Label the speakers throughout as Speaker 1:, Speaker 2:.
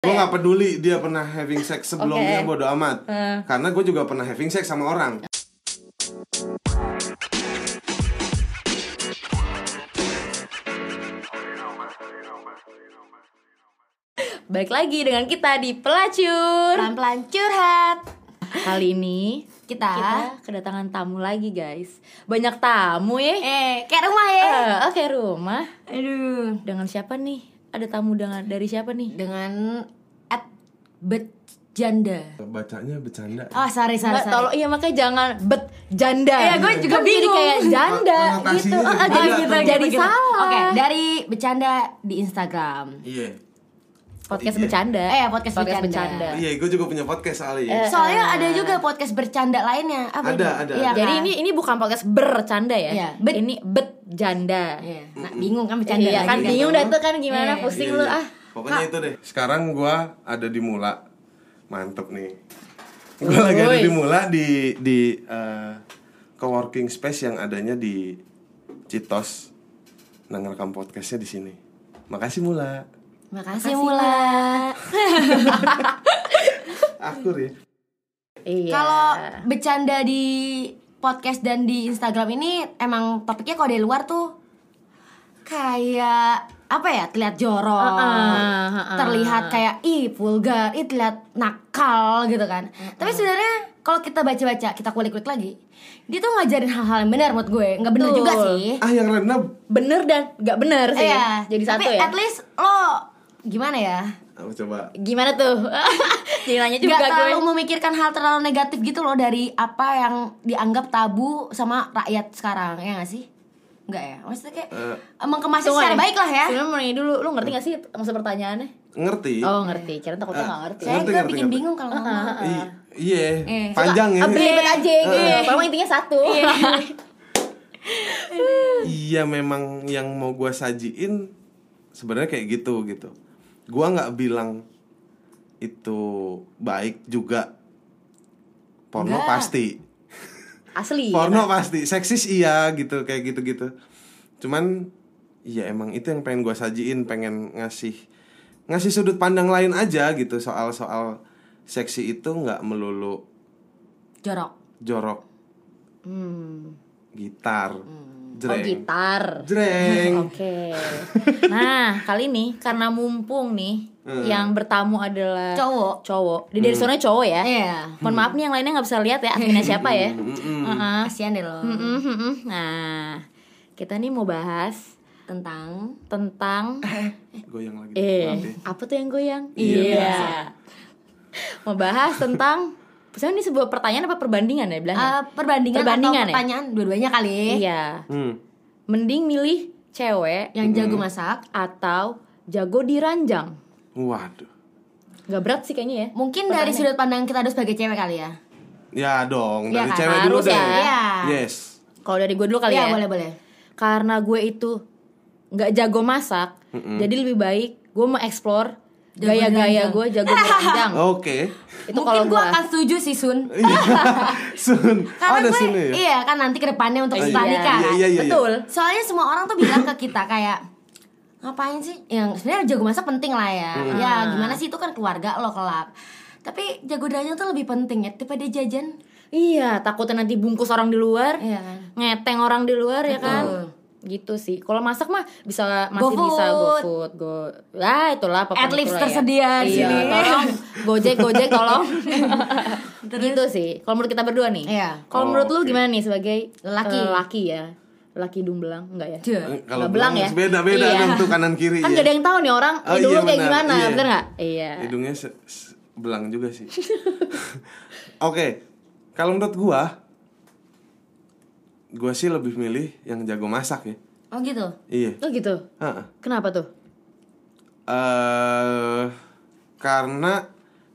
Speaker 1: Gue gak peduli dia pernah having sex sebelumnya
Speaker 2: Oke.
Speaker 1: bodo amat
Speaker 2: Eh.
Speaker 1: Karena gue juga pernah having sex sama orang
Speaker 2: Balik lagi dengan kita di Pelacur
Speaker 3: pelan-pelan curhat
Speaker 2: Kali ini
Speaker 3: kita,
Speaker 2: kita kedatangan tamu lagi guys Banyak tamu ya
Speaker 3: eh kayak rumah ya
Speaker 2: Eh, Oke rumah
Speaker 3: aduh
Speaker 2: Dengan siapa nih? Ada tamu dengan dari siapa nih?
Speaker 3: dengan at bejanda
Speaker 1: Bacanya bercanda
Speaker 2: Ah.
Speaker 3: oh sorry sorry
Speaker 2: Nggak, tolong, iya makanya jangan bet janda
Speaker 3: Iya, gua juga
Speaker 2: Kan jadi
Speaker 3: bingung.
Speaker 2: kayak
Speaker 1: Oh,
Speaker 2: janda gitu
Speaker 1: Konotasinya
Speaker 2: Eh,
Speaker 1: jadi beda
Speaker 2: jadi, gitu,
Speaker 1: tuh.
Speaker 2: jadi salah
Speaker 3: oke dari bercanda di Instagram
Speaker 1: Iya Iya.
Speaker 2: Podcast bercanda
Speaker 3: Eh, podcast bercanda.
Speaker 1: Iya gue juga punya podcast soalnya
Speaker 2: Eh,
Speaker 1: ya.
Speaker 3: soalnya ada juga podcast bercanda lainnya
Speaker 1: Ada,
Speaker 3: apa ini?
Speaker 1: ada,
Speaker 3: Iya,
Speaker 1: ada.
Speaker 2: Jadi
Speaker 3: kan?
Speaker 2: ini ini bukan podcast bercanda ya
Speaker 3: Iya, bet-
Speaker 2: Ini bet janda
Speaker 3: Iya. Nah, bingung kan bercanda
Speaker 2: Iya
Speaker 3: lagi
Speaker 2: kan
Speaker 3: kan?
Speaker 2: bingung dah tuh kan gimana
Speaker 3: Iya.
Speaker 2: pusing
Speaker 1: Iya,
Speaker 2: lu
Speaker 1: iya.
Speaker 2: ah
Speaker 1: Pokoknya itu deh Sekarang gue ada di Mula Mantep nih Gue lagi ada
Speaker 2: Woi.
Speaker 1: di Mula di, di eh, coworking space yang adanya di Citos Nah ngerekam podcastnya di sini Makasih Mula
Speaker 3: makasih
Speaker 2: Mula.
Speaker 3: mula
Speaker 1: Akur ya
Speaker 2: Iya.
Speaker 3: kalau bercanda di podcast dan di Instagram ini emang topiknya kalau dari luar tuh kayak apa ya terlihat jorok
Speaker 2: Heeh, heeh.
Speaker 3: terlihat kayak ih vulgar, ih terlihat nakal gitu kan. Tapi sebenarnya kalau kita baca-baca, kita kulik-kulik lagi, dia tuh ngajarin hal-hal yang benar menurut gue, nggak benar
Speaker 2: Betul.
Speaker 3: juga sih.
Speaker 2: Eh.
Speaker 1: Ah yang Rena
Speaker 2: bener dan nggak bener sih.
Speaker 3: Iya.
Speaker 2: Jadi
Speaker 3: Tapi
Speaker 2: satu ya.
Speaker 3: At least lo gimana ya?
Speaker 1: Apa coba
Speaker 2: Gimana tuh? Jadi nanya juga gue.
Speaker 3: Gak terlalu memikirkan hal terlalu negatif gitu loh dari apa yang dianggap tabu sama rakyat sekarang ya gak sih? Enggak ya, maksudnya kayak
Speaker 1: Eh.
Speaker 3: emang kemasnya
Speaker 2: Tunggu
Speaker 3: secara
Speaker 2: nih.
Speaker 3: baik lah ya.
Speaker 2: Sebenarnya mau nanya dulu, lu ngerti gak sih maksud pertanyaannya?
Speaker 1: Ngerti
Speaker 2: Oh ngerti, kira takutnya gak ngerti.
Speaker 3: Saya
Speaker 1: Ngerti,
Speaker 3: gue
Speaker 1: ngerti,
Speaker 3: bikin
Speaker 1: ngerti.
Speaker 3: bingung kalau ngomong.
Speaker 1: I- Iya,
Speaker 3: Eh,
Speaker 1: panjang ya.
Speaker 2: Abelibet Ah, aja gitu. Padahal intinya satu. Oh,
Speaker 1: Iya, memang yang mau gua sajiin sebenarnya kayak gitu gitu. Gua nggak bilang itu baik juga. Porno
Speaker 3: Nggak.
Speaker 1: pasti,
Speaker 2: Asli.
Speaker 1: porno pasti, seksis iya gitu kayak gitu gitu. Cuman ya emang itu yang pengen gua sajiin, pengen ngasih ngasih sudut pandang lain aja gitu soal soal seksi itu nggak melulu
Speaker 3: Jorok.
Speaker 1: jorok
Speaker 2: Hmm.
Speaker 1: gitar
Speaker 2: Oh
Speaker 1: jreng
Speaker 2: gitar.
Speaker 1: jreng
Speaker 2: Oke. Nah, kali ini karena mumpung nih yang bertamu adalah
Speaker 3: Cowok.
Speaker 2: cowok. Di dari soalnya cowok ya.
Speaker 3: Iya.
Speaker 2: Mohon maaf nih yang lainnya nggak bisa lihat ya adminnya siapa ya. Heeh.
Speaker 3: Kasihan deh lo.
Speaker 2: Mm, mm, mm. Nah, kita nih mau bahas
Speaker 3: Tentang
Speaker 2: tentang
Speaker 1: goyang lagi Maaf ya.
Speaker 2: ah. eh apa tuh yang goyang?
Speaker 1: Iya, biasa.
Speaker 2: Mau bahas tentang misalnya ini sebuah pertanyaan apa perbandingan ya bilangnya?
Speaker 3: Eh, perbandingan,
Speaker 2: Perbandingan
Speaker 3: atau
Speaker 2: ya?
Speaker 3: pertanyaan dua-duanya kali
Speaker 2: Iya.
Speaker 1: hmm.
Speaker 2: Mending milih cewek
Speaker 3: yang jago masak
Speaker 2: atau jago diranjang.
Speaker 1: waduh
Speaker 2: Gak berat sih kayaknya ya.
Speaker 3: mungkin dari sudut pandang kita harus sebagai cewek kali ya
Speaker 1: ya dong
Speaker 3: Iya
Speaker 1: dari
Speaker 3: kan,
Speaker 1: cewek dulu
Speaker 2: harus
Speaker 1: deh
Speaker 2: ya.
Speaker 3: Iya.
Speaker 1: yes
Speaker 2: Kalau dari gue dulu kali
Speaker 3: iya
Speaker 2: ya.
Speaker 3: boleh boleh
Speaker 2: Karena gue itu nggak jago masak, jadi lebih baik gue mau explore
Speaker 3: Jago
Speaker 2: gaya-gaya
Speaker 3: beranjang.
Speaker 2: gue jago beranjang.
Speaker 1: oke
Speaker 2: Itu kalau
Speaker 3: mungkin gue
Speaker 2: gue.
Speaker 3: akan setuju sih Sun
Speaker 1: Iya. sun
Speaker 3: karena
Speaker 1: ada
Speaker 3: gue
Speaker 1: sun ya
Speaker 3: iya kan nanti kedepannya untuk
Speaker 1: Iya.
Speaker 3: studi
Speaker 1: Iya,
Speaker 3: kan
Speaker 1: iya, iya.
Speaker 2: Betul.
Speaker 3: soalnya semua orang tuh bilang ke kita kayak ngapain sih yang sebenarnya jago masak penting lah ya
Speaker 1: Hmm.
Speaker 3: ya gimana sih itu kan keluarga lo kelak tapi jago dagangnya tuh lebih penting ya daripada jajan
Speaker 2: Iya, takutnya nanti bungkus orang di luar,
Speaker 3: Iya kan.
Speaker 2: ngeteng orang di luar ya kan.
Speaker 3: Betul.
Speaker 2: Gitu sih. Kalau masak mah bisa masih
Speaker 3: GoFood.
Speaker 2: bisa GoFood, Go. Ya, itulah apapun
Speaker 3: Ad libs
Speaker 2: itulah
Speaker 3: tersedia
Speaker 2: ya.
Speaker 3: di
Speaker 2: Iya,
Speaker 3: sini.
Speaker 2: tolong Gojek, Gojek tolong. gitu sih. Kalau menurut kita berdua nih.
Speaker 3: Iya.
Speaker 2: Kalau
Speaker 1: Oh,
Speaker 2: menurut lu
Speaker 1: oke.
Speaker 2: gimana nih sebagai
Speaker 3: Lelaki.
Speaker 2: eh, laki ya? Laki dumbelang enggak ya?
Speaker 3: Duh.
Speaker 1: kalau
Speaker 2: Nggak
Speaker 1: belang
Speaker 2: belang ya?
Speaker 1: beda beda
Speaker 2: Iya.
Speaker 1: dong tuh kanan kiri
Speaker 2: Kan
Speaker 1: ya.
Speaker 2: gak ada yang tahu nih orang
Speaker 1: Oh,
Speaker 2: eh, dulu
Speaker 1: iya,
Speaker 2: kayak
Speaker 1: benar.
Speaker 2: gimana,
Speaker 1: Iya.
Speaker 2: bener nggak? Iya.
Speaker 1: hidungnya se- se- belang juga sih oke kalau menurut gua gua sih lebih milih yang jago masak ya
Speaker 3: oh gitu
Speaker 1: iya
Speaker 2: Oh gitu.
Speaker 1: Heeh.
Speaker 2: Kenapa tuh?
Speaker 1: eh karena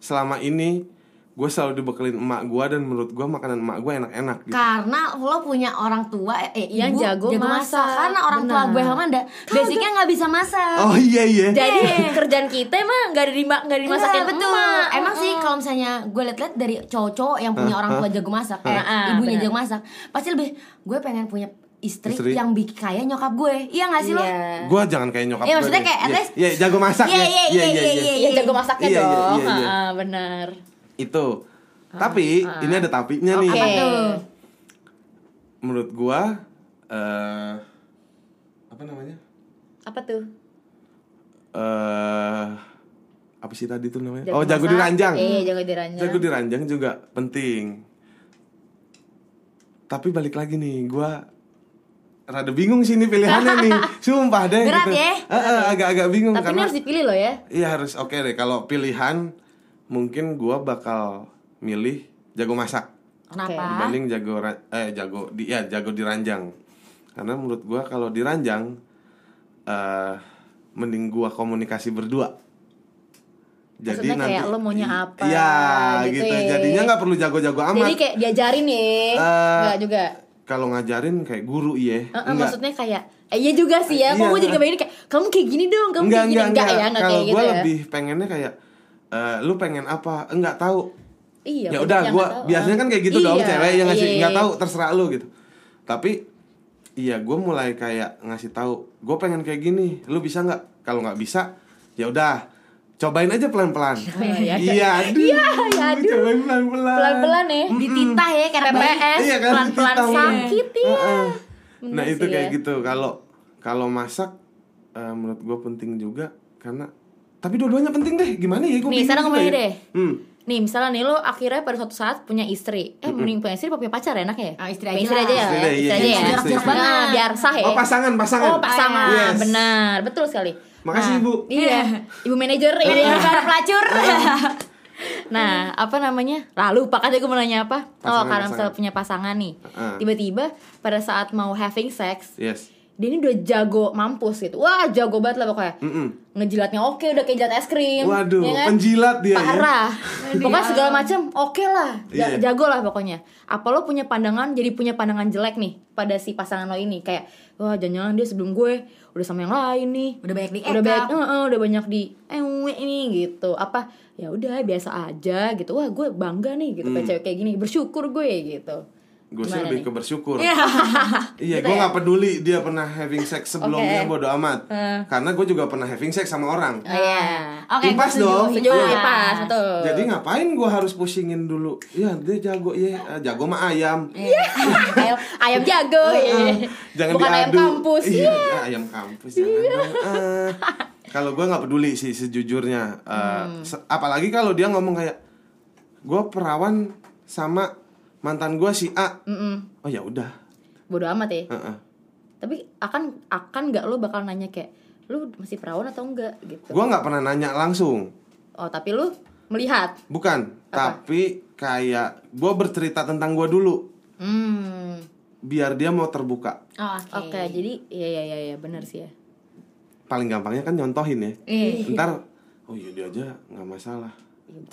Speaker 1: selama ini gue selalu dibekelin emak gue dan menurut gue makanan emak gue enak-enak gitu.
Speaker 3: Karena lo punya orang tua eh,
Speaker 2: Yang
Speaker 3: ibu
Speaker 2: jago masak.
Speaker 3: Karena orang tua
Speaker 2: Benar.
Speaker 3: gue Hamanda basicnya nggak bisa masak.
Speaker 1: Oh iya iya.
Speaker 2: Jadi kerjaan kita emang nggak ada di nggak dimasakin
Speaker 3: Nggak, Iya, betul.
Speaker 2: emak. Iya.
Speaker 3: Emang sih kalau misalnya gue liat-liat dari cowok-cowok yang punya orang tua jago masak, kayak
Speaker 2: Ah, ah,
Speaker 3: ibunya
Speaker 2: benar.
Speaker 3: jago masak, pasti lebih gue pengen punya istri,
Speaker 1: Istri.
Speaker 3: yang bikin kaya nyokap gue iya gak sih lo
Speaker 2: Iya.
Speaker 1: Gua jangan kayak nyokap
Speaker 3: Iya,
Speaker 1: gua
Speaker 3: maksudnya
Speaker 1: deh.
Speaker 3: kayak at
Speaker 1: Iya,
Speaker 3: least-
Speaker 1: Iya, jago masak
Speaker 3: Iya,
Speaker 1: ya.
Speaker 3: iya, iya, iya, iya.
Speaker 2: Iya jago masaknya
Speaker 1: Iya, iya,
Speaker 2: dong.
Speaker 1: iya, iya.
Speaker 2: Ah, benar.
Speaker 1: Itu. Tapi ini ada tapinya nih.
Speaker 3: Ah, Oh, apa tuh
Speaker 1: Menurut gua eh apa namanya?
Speaker 2: Apa tuh?
Speaker 1: Eh apa sih tadi tuh namanya?
Speaker 2: Jago
Speaker 1: oh, jago
Speaker 2: masak.
Speaker 1: diranjang.
Speaker 2: Iya, jago diranjang.
Speaker 1: Jago diranjang juga penting. Tapi balik lagi nih, gua rada bingung sih ini pilihannya nih. Sumpah deh
Speaker 3: Berat
Speaker 1: gitu.
Speaker 3: ya?
Speaker 1: Eh, eh, agak-agak bingung
Speaker 2: Tapi ini
Speaker 1: karena
Speaker 2: harus dipilih loh ya.
Speaker 1: Iya harus oke deh kalau pilihan mungkin gua bakal milih jago masak
Speaker 3: kenapa
Speaker 1: dibanding jago ra- eh jago di ya jago diranjang. Karena menurut gua kalau diranjang eh mending gua komunikasi berdua.
Speaker 2: Maksudnya kayak lo maunya apa,
Speaker 1: Iya
Speaker 2: gitu
Speaker 1: gitu.
Speaker 2: ya.
Speaker 1: Jadinya nggak perlu jago-jago amat.
Speaker 2: Jadi kayak diajarin nih.
Speaker 1: Eh,
Speaker 2: Enggak juga.
Speaker 1: Kalau ngajarin kayak guru iya.
Speaker 2: Eh, eh,
Speaker 1: Nggak.
Speaker 2: maksudnya kayak eh, iya juga sih ya. Kok
Speaker 1: Iya.
Speaker 2: gue jadi kebayang kayak kamu kayak gini dong, kamu
Speaker 1: enggak
Speaker 2: kayak gini
Speaker 1: enggak enggak,
Speaker 2: ya, enggak
Speaker 1: kalau
Speaker 2: kayak gitu
Speaker 1: gue
Speaker 2: ya.
Speaker 1: lebih pengennya kayak eh, lu pengen apa enggak tahu ya
Speaker 2: Iya, banyak
Speaker 1: udah
Speaker 2: yang
Speaker 1: gue
Speaker 2: nggak tahu.
Speaker 1: biasanya kan kayak gitu
Speaker 2: Iya,
Speaker 1: dong cewek yang ngasih
Speaker 2: iya.
Speaker 1: nggak tahu terserah lu gitu tapi iya gue mulai kayak ngasih tahu gue pengen kayak gini lu bisa nggak kalau nggak bisa ya udah cobain aja pelan pelan
Speaker 2: iya,
Speaker 1: iya aduh
Speaker 2: iya, aduh.
Speaker 1: cobain pelan pelan
Speaker 2: Pelan-pelan ya.
Speaker 3: dititah ya karena
Speaker 2: PPS
Speaker 1: Iya kan,
Speaker 2: pelan-pelan
Speaker 1: ditambah.
Speaker 2: sakit ya.
Speaker 1: Heeh.
Speaker 2: Bener
Speaker 1: Nah itu
Speaker 2: sih
Speaker 1: kayak
Speaker 2: ya.
Speaker 1: gitu kalau kalau masak eh, menurut gue penting juga karena tapi dua-duanya penting deh gimana ya gue
Speaker 2: Nih, sekarang ngomongin deh.
Speaker 1: Hmm.
Speaker 2: Nih misalnya nih lo akhirnya pada suatu saat punya istri Eh mending punya istri apa punya pacar enak ya?
Speaker 3: Ah, istri
Speaker 2: Punya
Speaker 3: aja
Speaker 2: istri
Speaker 3: lah.
Speaker 2: aja ya
Speaker 1: Istri deh, iya,
Speaker 2: aja
Speaker 1: iya,
Speaker 2: ya
Speaker 1: istri,
Speaker 2: Nah,
Speaker 3: istri.
Speaker 2: Biar sah ya
Speaker 1: Oh pasangan pasangan.
Speaker 2: Oh pasangan
Speaker 1: Yes.
Speaker 2: Benar Betul sekali
Speaker 1: Makasih,
Speaker 2: Nah,
Speaker 1: Ibu.
Speaker 2: Iya Ibu manajer
Speaker 3: Iya,
Speaker 2: ya.
Speaker 3: para pelacur
Speaker 1: Iya.
Speaker 2: Nah apa namanya Lalu lupa kan tadi gue mau nanya apa Oh
Speaker 1: Pasangan,
Speaker 2: karena misalnya
Speaker 1: pasangan.
Speaker 2: punya pasangan nih
Speaker 1: Heeh.
Speaker 2: Tiba-tiba pada saat mau having sex
Speaker 1: Yes.
Speaker 2: Dia ini udah jago mampus gitu Wah jago banget lah pokoknya
Speaker 1: Mm-mm.
Speaker 2: Ngejilatnya oke udah kayak jilat es krim
Speaker 1: Waduh,
Speaker 2: ya kan?
Speaker 1: penjilat dia. ya.
Speaker 2: parah pokoknya segala macam oke lah Ja-
Speaker 1: Iya.
Speaker 2: jago lah pokoknya apa lo punya pandangan jadi punya pandangan jelek nih pada si pasangan lo ini kayak wah jangan-jangan dia sebelum gue udah sama yang lain nih
Speaker 3: udah banyak di
Speaker 2: udah banyak eh, eh, udah banyak di ewe ini gitu apa ya udah biasa aja gitu wah gue bangga nih gitu
Speaker 1: Hmm.
Speaker 2: kayak cewek kayak gini bersyukur gue gitu Iya.
Speaker 1: Gue sih
Speaker 2: Gimana
Speaker 1: lebih
Speaker 2: nih? Gitu ya?
Speaker 1: ke bersyukur. iya, gue nggak peduli dia pernah having sex sebelumnya
Speaker 2: Oke. Eh.
Speaker 1: bodo amat. Karena gue juga pernah having sex sama orang.
Speaker 2: Gitu ya. Oh,
Speaker 3: Iya. Oke,
Speaker 1: Impas
Speaker 3: setuju,
Speaker 1: dong.
Speaker 2: Mm. setuju
Speaker 1: Iya.
Speaker 2: ya pas betul
Speaker 1: Jadi ngapain gue harus pusingin dulu? Ya dia jago ya, Eh, jago mah
Speaker 2: Iya.
Speaker 1: ayam.
Speaker 2: ayam, ayam jago iya.
Speaker 1: Jangan
Speaker 2: bukan ayam
Speaker 1: diadu.
Speaker 2: kampus Iya.
Speaker 1: Iya, ayam kampus. jangan dong. Eh, kalau gue nggak peduli sih sejujurnya. Eh,
Speaker 2: Hmm.
Speaker 1: se- apalagi kalau dia ngomong kayak gue perawan sama mantan gue si A. Oh ya udah.
Speaker 2: bodoh amat ya
Speaker 1: Heeh.
Speaker 2: tapi akan akan nggak lo bakal nanya kayak lu masih perawan atau enggak gitu
Speaker 1: Gue nggak pernah nanya langsung.
Speaker 2: oh tapi lu melihat
Speaker 1: Bukan, tapi kayak gue bercerita tentang gue dulu
Speaker 2: hmm
Speaker 1: biar dia mau terbuka.
Speaker 3: Oh,
Speaker 2: oke jadi iya iya iya ya, benar sih ya
Speaker 1: Paling gampangnya kan nyontohin ya.
Speaker 2: Eh,
Speaker 3: Iya.
Speaker 1: Ntar oh iya dia aja nggak masalah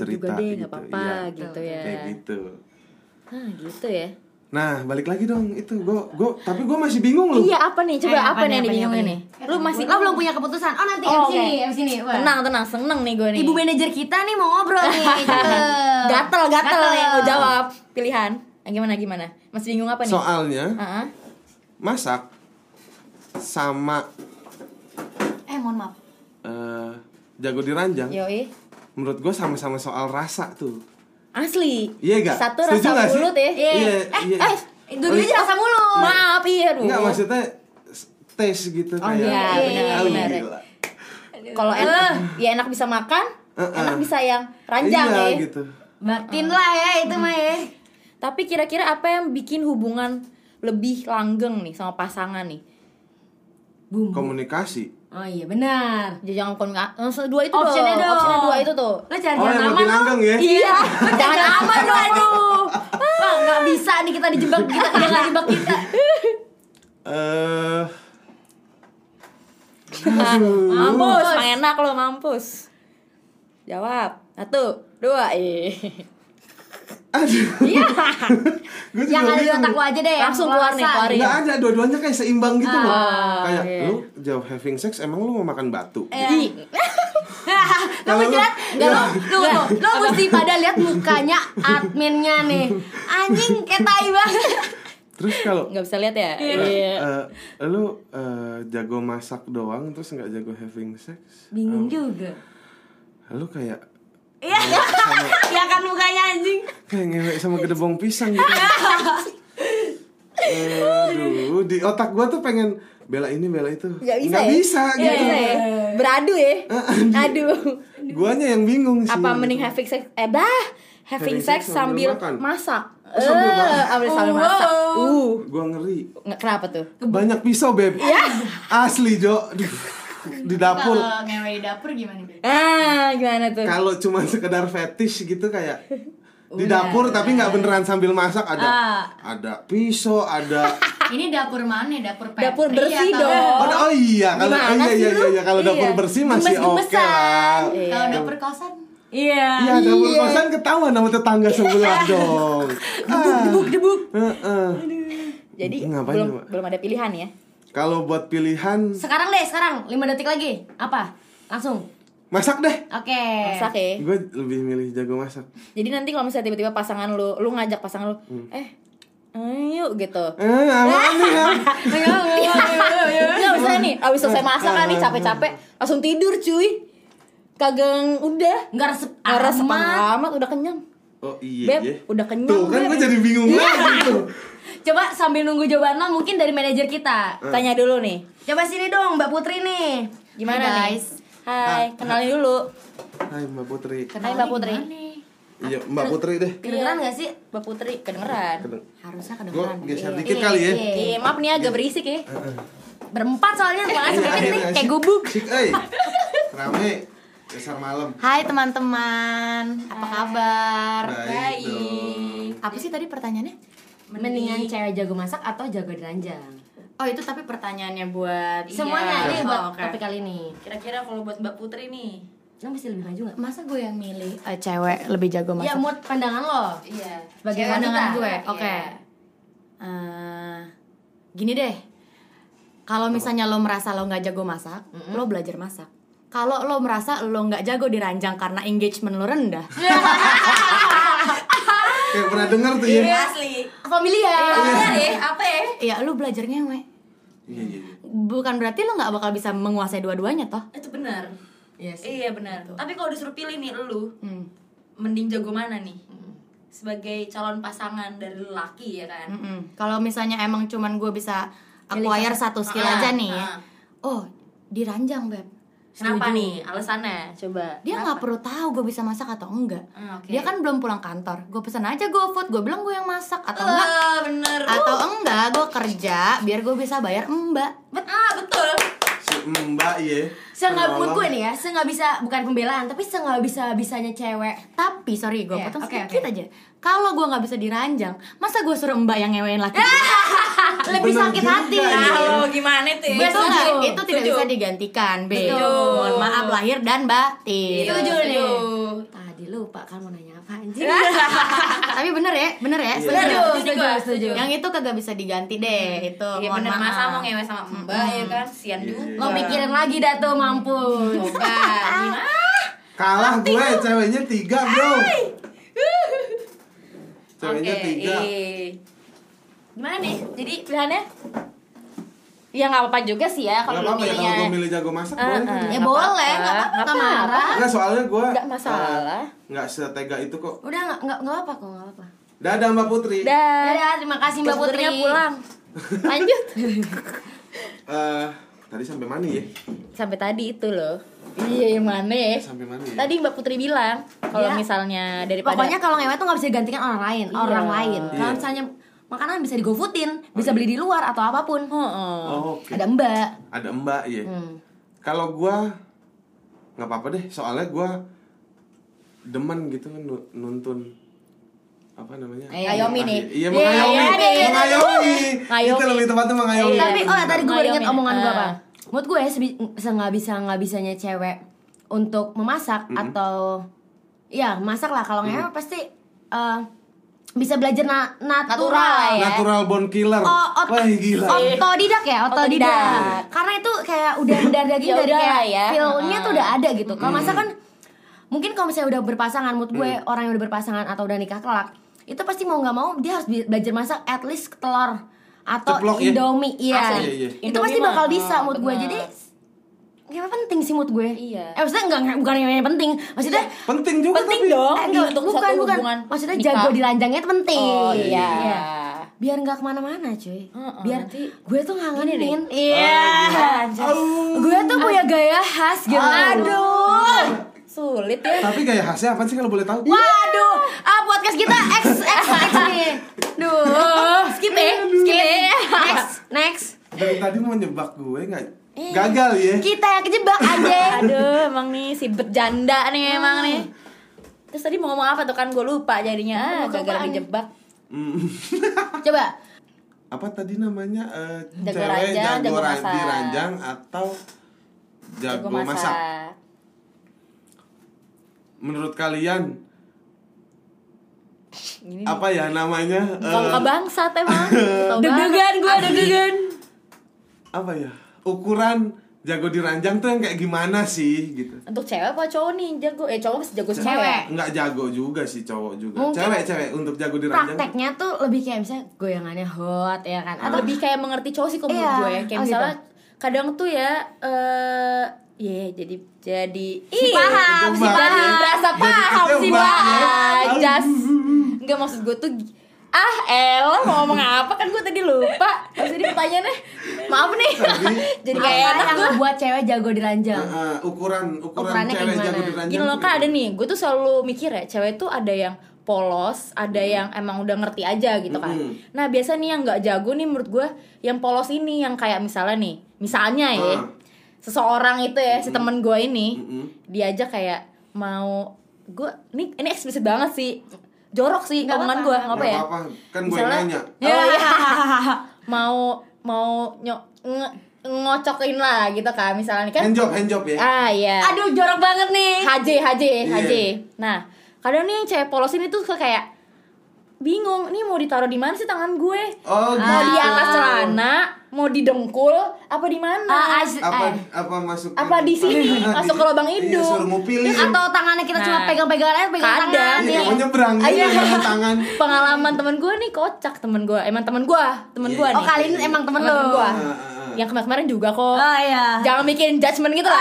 Speaker 1: cerita
Speaker 2: juga deh
Speaker 1: gitu.
Speaker 2: nggak apa-apa
Speaker 1: Iya,
Speaker 2: gitu ya
Speaker 1: Kayak gitu.
Speaker 2: Hah, gitu ya
Speaker 1: Nah, balik lagi dong itu. Gua gua tapi gua masih bingung loh.
Speaker 2: iya apa nih coba
Speaker 3: Eh,
Speaker 2: apa,
Speaker 3: apa
Speaker 2: nih yang
Speaker 3: nih, apa nih,
Speaker 2: dibingungin
Speaker 3: apa
Speaker 2: nih
Speaker 3: nih?
Speaker 2: lu masih
Speaker 3: Lo belum punya keputusan. Oh, nanti
Speaker 2: Oh,
Speaker 3: abis ini, abis ini. Wah.
Speaker 2: tenang tenang seneng nih gue nih
Speaker 3: Ibu manajer kita nih mau ngobrol nih. cakep.
Speaker 2: gatel gatel
Speaker 3: Gatel.
Speaker 2: ya lu jawab pilihan Nah, gimana gimana masih bingung apa nih
Speaker 1: Soalnya
Speaker 2: Heeh.
Speaker 1: masak sama
Speaker 3: Eh, mohon maaf.
Speaker 1: eh, jago diranjang
Speaker 2: yoi
Speaker 1: menurut gua sama-sama soal rasa tuh.
Speaker 2: asli
Speaker 1: Iya gak?
Speaker 2: satu
Speaker 1: Setuju
Speaker 2: rasa
Speaker 1: nggak sih?
Speaker 2: mulut ya
Speaker 1: Iya,
Speaker 3: Eh,
Speaker 1: iya.
Speaker 3: eh, dua-duanya
Speaker 1: Oh,
Speaker 3: rasa mulu.
Speaker 2: maaf iya dulu
Speaker 1: Enggak maksudnya s- tes gitu
Speaker 2: Oh, iya, benar,
Speaker 1: Ah,
Speaker 2: benar.
Speaker 1: gila.
Speaker 2: kalau enak ya enak bisa makan
Speaker 1: Uh-uh.
Speaker 2: enak bisa yang ranjang
Speaker 1: iya,
Speaker 2: ya
Speaker 1: gitu.
Speaker 3: Batin lah ya itu mah ya.
Speaker 2: tapi kira-kira apa yang bikin hubungan lebih langgeng nih sama pasangan nih
Speaker 3: Bumbu.
Speaker 1: Komunikasi.
Speaker 3: Oh iya, benar.
Speaker 2: jangan komunikasi langsung eh, dua itu dong
Speaker 3: Optionnya dong.
Speaker 2: optionnya dua itu tuh
Speaker 3: Lo cari
Speaker 1: Oh,
Speaker 3: yang
Speaker 1: yang
Speaker 3: aman
Speaker 1: lebih
Speaker 3: lo.
Speaker 1: langgeng ya.
Speaker 2: iya jangan aman
Speaker 3: Aman lo, aduh. Wah, nggak bisa nih kita dijebak kita. Dia nggak jebak kita.
Speaker 1: Eh
Speaker 2: mampus emang enak lo mampus jawab satu dua eh. ih iya
Speaker 1: gua
Speaker 3: Yang
Speaker 1: juga
Speaker 3: ada di
Speaker 1: bingung.
Speaker 3: otak lo aja deh. yang
Speaker 2: Langsung keluar nih,
Speaker 3: rasa.
Speaker 2: keluarin.
Speaker 1: Nggak ada, dua-duanya kayak seimbang gitu loh
Speaker 2: ya? Ah,
Speaker 1: Kayak,
Speaker 2: iya. Eh,
Speaker 1: lu jauh having sex, emang lu mau makan batu?
Speaker 2: Ih,
Speaker 3: lo
Speaker 1: Kalau
Speaker 3: mesti
Speaker 1: lu- Iya.
Speaker 3: lihat nggak lo lo lo lo mesti pada lihat mukanya adminnya nih anjing kayak tai banget
Speaker 1: Terus kalau
Speaker 2: nggak bisa lihat ya
Speaker 1: eh, eh, lu eh, jago masak doang terus nggak jago having sex,
Speaker 3: Bingung juga.
Speaker 1: lu kayak
Speaker 3: Iya. Iya kan mukanya anjing.
Speaker 1: kayak ngewek sama gedebong pisang gitu. Aduh, di otak gua tuh pengen bela ini bela itu.
Speaker 2: nggak bisa
Speaker 1: Nggak
Speaker 2: ya?
Speaker 1: bisa
Speaker 2: Nggak
Speaker 1: gitu. Ah,
Speaker 2: bisa ya? beradu ya aduh
Speaker 1: Guanya yang bingung sih.
Speaker 2: apa mending having sex eh bah having
Speaker 1: Having
Speaker 2: sex
Speaker 1: sex sambil
Speaker 2: sambil
Speaker 1: makan.
Speaker 2: masak
Speaker 1: Oh, sambil
Speaker 2: Eh,
Speaker 1: masak.
Speaker 2: sambil sambil masak uh
Speaker 1: Gua ngeri.
Speaker 2: nggak kenapa tuh
Speaker 1: Banyak pisau, Beb.
Speaker 2: Iya.
Speaker 1: Asli, Jo. Aduh, Di dapur.
Speaker 4: Kalau ngewe di dapur gimana? Beb?
Speaker 2: ah gimana tuh
Speaker 1: Kalau cuma sekedar fetish gitu kayak di dapur tapi nggak beneran sambil masak ada
Speaker 2: Ah.
Speaker 1: ada pisau, ada
Speaker 4: Ini dapur mana? Dapur pantry
Speaker 2: Dapur bersih
Speaker 4: atau-
Speaker 2: dong.
Speaker 1: Oh, oh iya, kalau oh,
Speaker 2: Gimana
Speaker 1: iya iya
Speaker 2: sih lu?
Speaker 1: iya kalau dapur
Speaker 2: Iya.
Speaker 1: bersih masih oke
Speaker 3: Gemes-gemesan.
Speaker 1: lah.
Speaker 4: Kalau dapur kosan?
Speaker 3: Iya.
Speaker 1: Iya, dapur kosan ketahuan sama tetangga sebelah
Speaker 2: Iya.
Speaker 1: dong. Debuk, debuk, debuk.
Speaker 2: jadi
Speaker 1: Ngapain
Speaker 2: belum
Speaker 1: coba?
Speaker 2: belum ada pilihan ya
Speaker 1: Kalau buat pilihan
Speaker 3: Sekarang deh, sekarang 5 detik lagi. Apa? Langsung.
Speaker 1: masak deh.
Speaker 3: Oke.
Speaker 2: masak ya
Speaker 1: Gue lebih milih jago masak.
Speaker 2: jadi nanti kalau misalnya tiba-tiba pasangan lu lu ngajak pasangan lu
Speaker 1: Hmm.
Speaker 2: eh ayo gitu
Speaker 1: Eh, apaan nih? Ham? Iya,
Speaker 2: Nggak misalnya nih, abis selesai masak
Speaker 1: Nah,
Speaker 2: kan nih capek-capek Langsung tidur cuy Kagak udah
Speaker 3: Enggak resep
Speaker 2: Nggak resep
Speaker 3: amat.
Speaker 2: amat, udah kenyang
Speaker 1: Oh
Speaker 2: Beb,
Speaker 1: iya. iya.
Speaker 2: udah kenyang,
Speaker 1: Tuh
Speaker 2: Iya.
Speaker 1: kan
Speaker 2: Beb.
Speaker 1: gue jadi bingung lagi tuh.
Speaker 3: Coba sambil nunggu jawaban lo mungkin dari manajer kita.
Speaker 1: Hmm.
Speaker 2: Tanya dulu nih
Speaker 3: Coba sini dong Mbak Putri nih.
Speaker 2: Gimana nih?
Speaker 3: Hai,
Speaker 1: Ah,
Speaker 2: Hai, kenalin dulu
Speaker 1: Hai Mbak Putri.
Speaker 2: Hai Mbak Putri
Speaker 1: Iya Mbak Putri deh.
Speaker 3: Kedengeran gak sih?
Speaker 2: Mbak Putri, kedengeran
Speaker 3: Harusnya
Speaker 1: Gue
Speaker 3: kedengeran.
Speaker 1: geser
Speaker 3: Iya.
Speaker 1: dikit kali ya. Ah,
Speaker 3: Iya.
Speaker 2: Iya, maaf nih agak berisik ya
Speaker 3: Berempat soalnya ruangan
Speaker 1: Iya,
Speaker 3: sempit
Speaker 1: akhirnya
Speaker 3: nih kayak
Speaker 1: sih.
Speaker 3: gubuk.
Speaker 1: Sik, eh. Rame. Besar malam.
Speaker 5: Hai teman-teman, apa kabar?
Speaker 1: Baik. dong.
Speaker 5: Apa sih tadi pertanyaannya?
Speaker 3: Mendingan cewek jago masak atau jago deranjang?
Speaker 5: Oh itu tapi pertanyaannya buat
Speaker 6: Iya.
Speaker 3: Semuanya ini buat
Speaker 5: Oh, oke.
Speaker 3: topik kali ini.
Speaker 5: Kira-kira kalau buat Mbak Putri nih,
Speaker 3: Lo mesti lebih maju gak?
Speaker 5: masa gue yang milih eh, cewek lebih jago masak?
Speaker 3: Ya mood pandangan lo.
Speaker 5: Iya.
Speaker 3: Sebagai
Speaker 5: Cewek
Speaker 3: wanita.
Speaker 5: dengan gue. Oke.
Speaker 3: Iya.
Speaker 5: Eh, gini deh. Kalau misalnya lo merasa lo nggak jago masak, lo belajar masak. Kalau lo merasa lo nggak jago diranjang karena engagement lo rendah,
Speaker 1: Kayak pernah dengar tuh ya.
Speaker 5: Iya.
Speaker 6: Iya.
Speaker 3: Iya.
Speaker 5: asli.
Speaker 3: Familiar.
Speaker 5: apa ya? Iya, lo belajar ngewe.
Speaker 1: Iya iya. iya.
Speaker 5: Bukan berarti lo nggak bakal bisa menguasai dua-duanya toh?
Speaker 6: itu benar
Speaker 3: Iya sih.
Speaker 6: iya benar tapi kalau disuruh pilih nih lu
Speaker 5: Hmm.
Speaker 6: mending jago mana nih sebagai calon pasangan dari lelaki ya
Speaker 3: Hmm.
Speaker 6: kan
Speaker 5: Mm-mm. Kalau misalnya emang cuman gue bisa acquire satu skill aja
Speaker 6: Ah,
Speaker 5: nih ya.
Speaker 6: ah.
Speaker 5: Oh, diranjang, Beb.
Speaker 6: kenapa nih alasannya coba
Speaker 5: Dia nggak perlu tahu gue bisa masak atau enggak.
Speaker 3: Hmm,
Speaker 6: Ah, oke.
Speaker 5: Dia kan belum pulang kantor. Gue pesan aja GoFood, gue bilang gue yang masak atau enggak
Speaker 6: ah bener
Speaker 5: atau enggak gue kerja biar gue bisa bayar Mbak.
Speaker 6: Bet- ah betul
Speaker 1: Si Mbak ya.
Speaker 3: Saya nggak mood gue nih ya, saya nggak bisa bukan pembelaan, tapi saya nggak bisa bisanya cewek.
Speaker 5: Tapi sorry gue
Speaker 3: Iya,
Speaker 5: potong
Speaker 3: oke,
Speaker 5: sedikit
Speaker 3: oke.
Speaker 5: aja. Kalau gue nggak bisa diranjang, masa gue suruh Mbak yang ngewein laki?
Speaker 3: Lebih
Speaker 1: Bener
Speaker 3: sakit
Speaker 1: juga
Speaker 3: hati. Iya,
Speaker 1: ya.
Speaker 6: kalau Nah, gimana tuh ya?
Speaker 5: Itu nggak-
Speaker 3: setuju.
Speaker 5: itu tidak bisa digantikan, Beb.
Speaker 3: Betul.
Speaker 5: Mohon maaf lahir dan batin.
Speaker 3: Setuju
Speaker 6: Iya, Setuju.
Speaker 3: nih. Tadi lupa kan mau nanya apa anjing.
Speaker 5: Tapi bener ya, bener ya.
Speaker 3: Setuju,
Speaker 5: setuju.
Speaker 3: setuju, setuju.
Speaker 5: Yang itu kagak bisa diganti deh, itu.
Speaker 6: Iya
Speaker 5: mohon
Speaker 6: bener
Speaker 5: maaf.
Speaker 6: masa mau ngewe sama mbak ya kan Sian
Speaker 1: Iya,
Speaker 6: juga
Speaker 3: Lo pikirin lagi dah tuh mampus.
Speaker 6: coba gimana
Speaker 1: Kalah gue ceweknya tiga bro. Ceweknya
Speaker 6: Oke,
Speaker 1: tiga.
Speaker 6: eh.
Speaker 2: Gimana nih, jadi pilihannya? Ya nggak apa-apa juga sih ya
Speaker 1: Gak
Speaker 2: kalau lu
Speaker 1: apa-apa ya kalau gue
Speaker 2: milihnya
Speaker 1: milih jago masak boleh kan?
Speaker 3: Ya boleh, nggak apa-apa marah.
Speaker 1: Enggak soalnya gue
Speaker 2: Nggak masalah.
Speaker 1: Enggak setega itu kok
Speaker 3: Udah nggak nggak nggak apa kok nggak apa.
Speaker 1: Dadah Mbak Putri
Speaker 2: Dah,
Speaker 3: Dadah, terima kasih Mbak Putri.
Speaker 2: Putrinya Eh, pulang Lanjut
Speaker 1: Eh, Tadi sampai mana ya?
Speaker 2: Sampai tadi itu loh Iya, yang mana ya?
Speaker 1: Sampai mana ya?
Speaker 2: Tadi Mbak Putri bilang kalau
Speaker 3: Iya.
Speaker 2: misalnya daripada
Speaker 3: Pokoknya kalau ngewe tuh nggak bisa digantikan orang lain, orang lain. Kalau
Speaker 1: Iya.
Speaker 3: misalnya makanan bisa digofoodin, bisa beli di luar atau apapun.
Speaker 2: Heeh.
Speaker 1: Oh, oke
Speaker 3: Ada Mbak.
Speaker 1: Ada Mbak ya
Speaker 2: Hmm.
Speaker 1: Kalau gue nggak apa-apa deh soalnya gue demen gitu kan nu- nuntun apa namanya?
Speaker 2: Ayomi Eh, nih.
Speaker 1: Iya,
Speaker 2: Iya,
Speaker 1: mengayomi.
Speaker 2: iya, iya, iya.
Speaker 1: mengayomi. Itu
Speaker 2: Ngayomi.
Speaker 1: lebih tepatnya mengayomi.
Speaker 3: Tapi oh ya, tadi gue baru ingat
Speaker 2: Ngayomin.
Speaker 3: omongan gue apa.
Speaker 2: Ah.
Speaker 3: Menurut gue sebi- se nggak bisa nggak bisanya cewek untuk memasak atau ya masak lah kalau ngewe pasti eh, bisa belajar na- natural,
Speaker 2: Natural lah ya.
Speaker 1: Natural born killer.
Speaker 3: Oh, ot-
Speaker 1: Wah, gila.
Speaker 3: otodidak ya otodidak.
Speaker 2: Otodidak.
Speaker 3: karena itu kayak udah udah daging
Speaker 2: Ya
Speaker 3: dari
Speaker 2: udah
Speaker 3: kayak
Speaker 2: ya.
Speaker 3: feelnya tuh udah
Speaker 2: Heeh.
Speaker 3: ada
Speaker 1: Mm.
Speaker 3: gitu kalau masa kan mungkin kalau misalnya udah berpasangan mood gue orang yang udah berpasangan atau udah nikah kelak itu pasti mau nggak mau dia harus bi- belajar masak at least telur atau
Speaker 1: Ceplok ya?
Speaker 3: indomie iya
Speaker 1: Asli. Iya, iya.
Speaker 3: itu pasti
Speaker 2: Indomie
Speaker 3: bakal
Speaker 2: mah,
Speaker 3: bisa
Speaker 2: ah,
Speaker 3: mood gue
Speaker 2: benar.
Speaker 3: jadi gak penting sih mood gue
Speaker 2: Iya.
Speaker 3: eh maksudnya nggak nggak- bukan yang yang penting maksudnya
Speaker 1: Penting juga
Speaker 2: Penting
Speaker 1: tapi.
Speaker 2: dong
Speaker 3: eh,
Speaker 2: enggak,
Speaker 3: enggak,
Speaker 2: untuk satu
Speaker 3: bukan bukan
Speaker 2: hubungan
Speaker 3: maksudnya
Speaker 2: nikah.
Speaker 3: jago di ranjangnya itu penting
Speaker 2: Oh iya.
Speaker 3: Iya. biar nggak kemana-mana cuy
Speaker 2: Heeh,
Speaker 3: biar
Speaker 2: nanti-
Speaker 3: gue tuh ngangenin iya gue tuh punya gaya khas gitu
Speaker 2: Aduh. Sulit ya.
Speaker 1: Tapi gaya khasnya apa sih kalau boleh tahu?
Speaker 3: Waduh, ah podcast kita X X X nih. Duh, skip ya, skip ya. Next, next.
Speaker 1: Dari tadi mau nyebak gue nggak
Speaker 2: Eh.
Speaker 1: gagal ya.
Speaker 3: Kita yang kejebak aja.
Speaker 2: Aduh, emang nih si berjanda nih emang nih. Terus tadi mau ngomong apa tuh kan gue lupa jadinya ah, gara-gara dijebak.
Speaker 1: Mm.
Speaker 2: Coba
Speaker 1: apa tadi namanya eh,
Speaker 2: Jago
Speaker 1: cewek
Speaker 2: ranjang,
Speaker 1: jago,
Speaker 2: jago
Speaker 1: ran-
Speaker 2: masak.
Speaker 1: di ranjang atau jago,
Speaker 2: gue
Speaker 1: masak.
Speaker 2: masak.
Speaker 1: Menurut kalian apa ya namanya? eh,
Speaker 2: Kalau ke bangsat emang.
Speaker 6: Deg-degan gue deg-degan
Speaker 1: apa ya? Ukuran jago di ranjang tuh yang kayak gimana sih gitu?
Speaker 2: Untuk cewek apa cowok nih jago? Eh cowok pasti jago cewek.
Speaker 1: Cewek. Nggak jago juga sih cowok juga.
Speaker 3: Mungkin
Speaker 1: Cewek-cewek untuk jago di ranjang.
Speaker 3: Prakteknya tuh lebih kayak misalnya goyangannya hot ya kan. Atau
Speaker 2: lebih kayak mengerti cowok sih kalau menurut gue
Speaker 3: Iya.
Speaker 2: ya. kayak
Speaker 3: Oh, gitu.
Speaker 2: misalnya kadang tuh ya eh ya jadi jadi
Speaker 3: si
Speaker 2: Ih,
Speaker 3: paham, si
Speaker 1: Coba.
Speaker 2: jadi
Speaker 3: paham.
Speaker 2: berasa paham
Speaker 1: kecewa, ya.
Speaker 2: sih Mbak
Speaker 1: Aduh.
Speaker 2: Jas Enggak maksud gue tuh Ah elah mau ngomong apa kan gue tadi lupa Terus Jadi pertanyaannya Maaf nih Jadi
Speaker 3: Apa ya?
Speaker 2: kayak enak
Speaker 3: yang
Speaker 2: gue
Speaker 3: buat cewek jago di ranjang?
Speaker 1: Eh, eh, ukuran ukuran
Speaker 3: Ukurannya
Speaker 1: cewek
Speaker 3: kayak
Speaker 1: jago
Speaker 3: gimana?
Speaker 1: di ranjang.
Speaker 2: Gini loh
Speaker 1: tuh gitu.
Speaker 2: kak ada
Speaker 1: gimana?
Speaker 2: nih Gue tuh selalu mikir ya Cewek tuh ada yang polos Ada
Speaker 1: Hmm.
Speaker 2: yang emang udah ngerti aja gitu kan
Speaker 1: Mm-mm.
Speaker 2: Nah biasa nih yang gak jago nih menurut gue Yang polos ini Yang kayak misalnya nih Misalnya ya
Speaker 1: Ah.
Speaker 2: Seseorang itu ya Si
Speaker 1: Hmm.
Speaker 2: temen gue ini
Speaker 1: Mm-mm.
Speaker 2: Dia aja kayak Mau Gue Ini, ini eksplisit banget sih Jorok sih omongan gue Gak apa
Speaker 1: Nggak
Speaker 2: ya
Speaker 1: apa-apa, kan gue yang nanya.
Speaker 2: Oh
Speaker 3: Ah,
Speaker 2: iya. mau mau nyo, nge- ngocokin lah gitu kan misalnya nih kan
Speaker 1: Hand job, hand job ya.
Speaker 2: ah iya
Speaker 3: Aduh, jorok banget nih.
Speaker 2: HJ HJ
Speaker 1: Iya.
Speaker 2: HJ. Nah, kadang nih yang cewek polos ini tuh suka kayak bingung, ini mau ditaruh di mana sih tangan gue?
Speaker 1: Oh,
Speaker 2: Mau
Speaker 1: gitu.
Speaker 2: di
Speaker 3: Ah.
Speaker 2: atas celana, mau di dengkul, apa di mana?
Speaker 3: Ah, as-
Speaker 1: apa
Speaker 3: eh.
Speaker 1: apa masuk
Speaker 2: Apa di sini? Masuk ke lubang
Speaker 1: hidung
Speaker 2: hidung.
Speaker 1: iya, suruh ngupilin
Speaker 3: Atau tangannya kita cuma
Speaker 2: Nah.
Speaker 3: pegang-pegangan aja, pegang
Speaker 2: Kadang.
Speaker 3: tangan.
Speaker 1: iya
Speaker 3: ya.
Speaker 1: mau nyebrang gitu
Speaker 2: Iya.
Speaker 1: dengan tangan
Speaker 2: Pengalaman temen gue nih kocak temen gue, emang temen gue, temen
Speaker 1: Iya,
Speaker 2: gue
Speaker 1: iya.
Speaker 3: Oh,
Speaker 2: nih.
Speaker 3: kali ini emang temen
Speaker 2: Temen
Speaker 3: lo.
Speaker 2: gua.
Speaker 1: Ah,
Speaker 2: Iya.
Speaker 1: ah, ah.
Speaker 2: Yang kemarin-kemarin juga kok.
Speaker 3: Oh iya.
Speaker 2: Jangan bikin judgement
Speaker 3: Oh,
Speaker 2: gitu lah.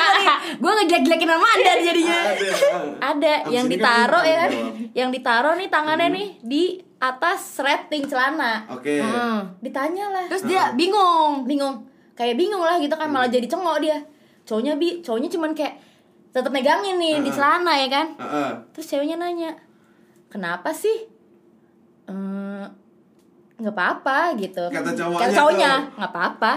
Speaker 3: gue ngejelek-jelekin nama anda jadinya
Speaker 1: Ada, ah.
Speaker 2: ada
Speaker 1: Abis
Speaker 2: yang
Speaker 1: ini kan Iya.
Speaker 2: ditaruh
Speaker 1: kita
Speaker 2: ya kan
Speaker 1: jawab.
Speaker 2: yang ditaruh nih tangannya nih di atas rating celana
Speaker 1: oke
Speaker 2: Hmm.
Speaker 3: Hmm.
Speaker 2: ditanya lah
Speaker 3: terus dia bingung
Speaker 2: bingung kayak bingung lah gitu
Speaker 1: Iya.
Speaker 2: kan malah jadi cengok dia cowoknya bi cowoknya cuman kayak tetap megangin nih di
Speaker 1: Heeh.
Speaker 2: celana ya kan
Speaker 1: Ah, ah.
Speaker 2: terus ceweknya nanya kenapa sih "Eh, nggak apa-apa gitu
Speaker 1: Kata cowoknya
Speaker 2: Kata cowoknya
Speaker 1: tuh.
Speaker 2: nggak apa-apa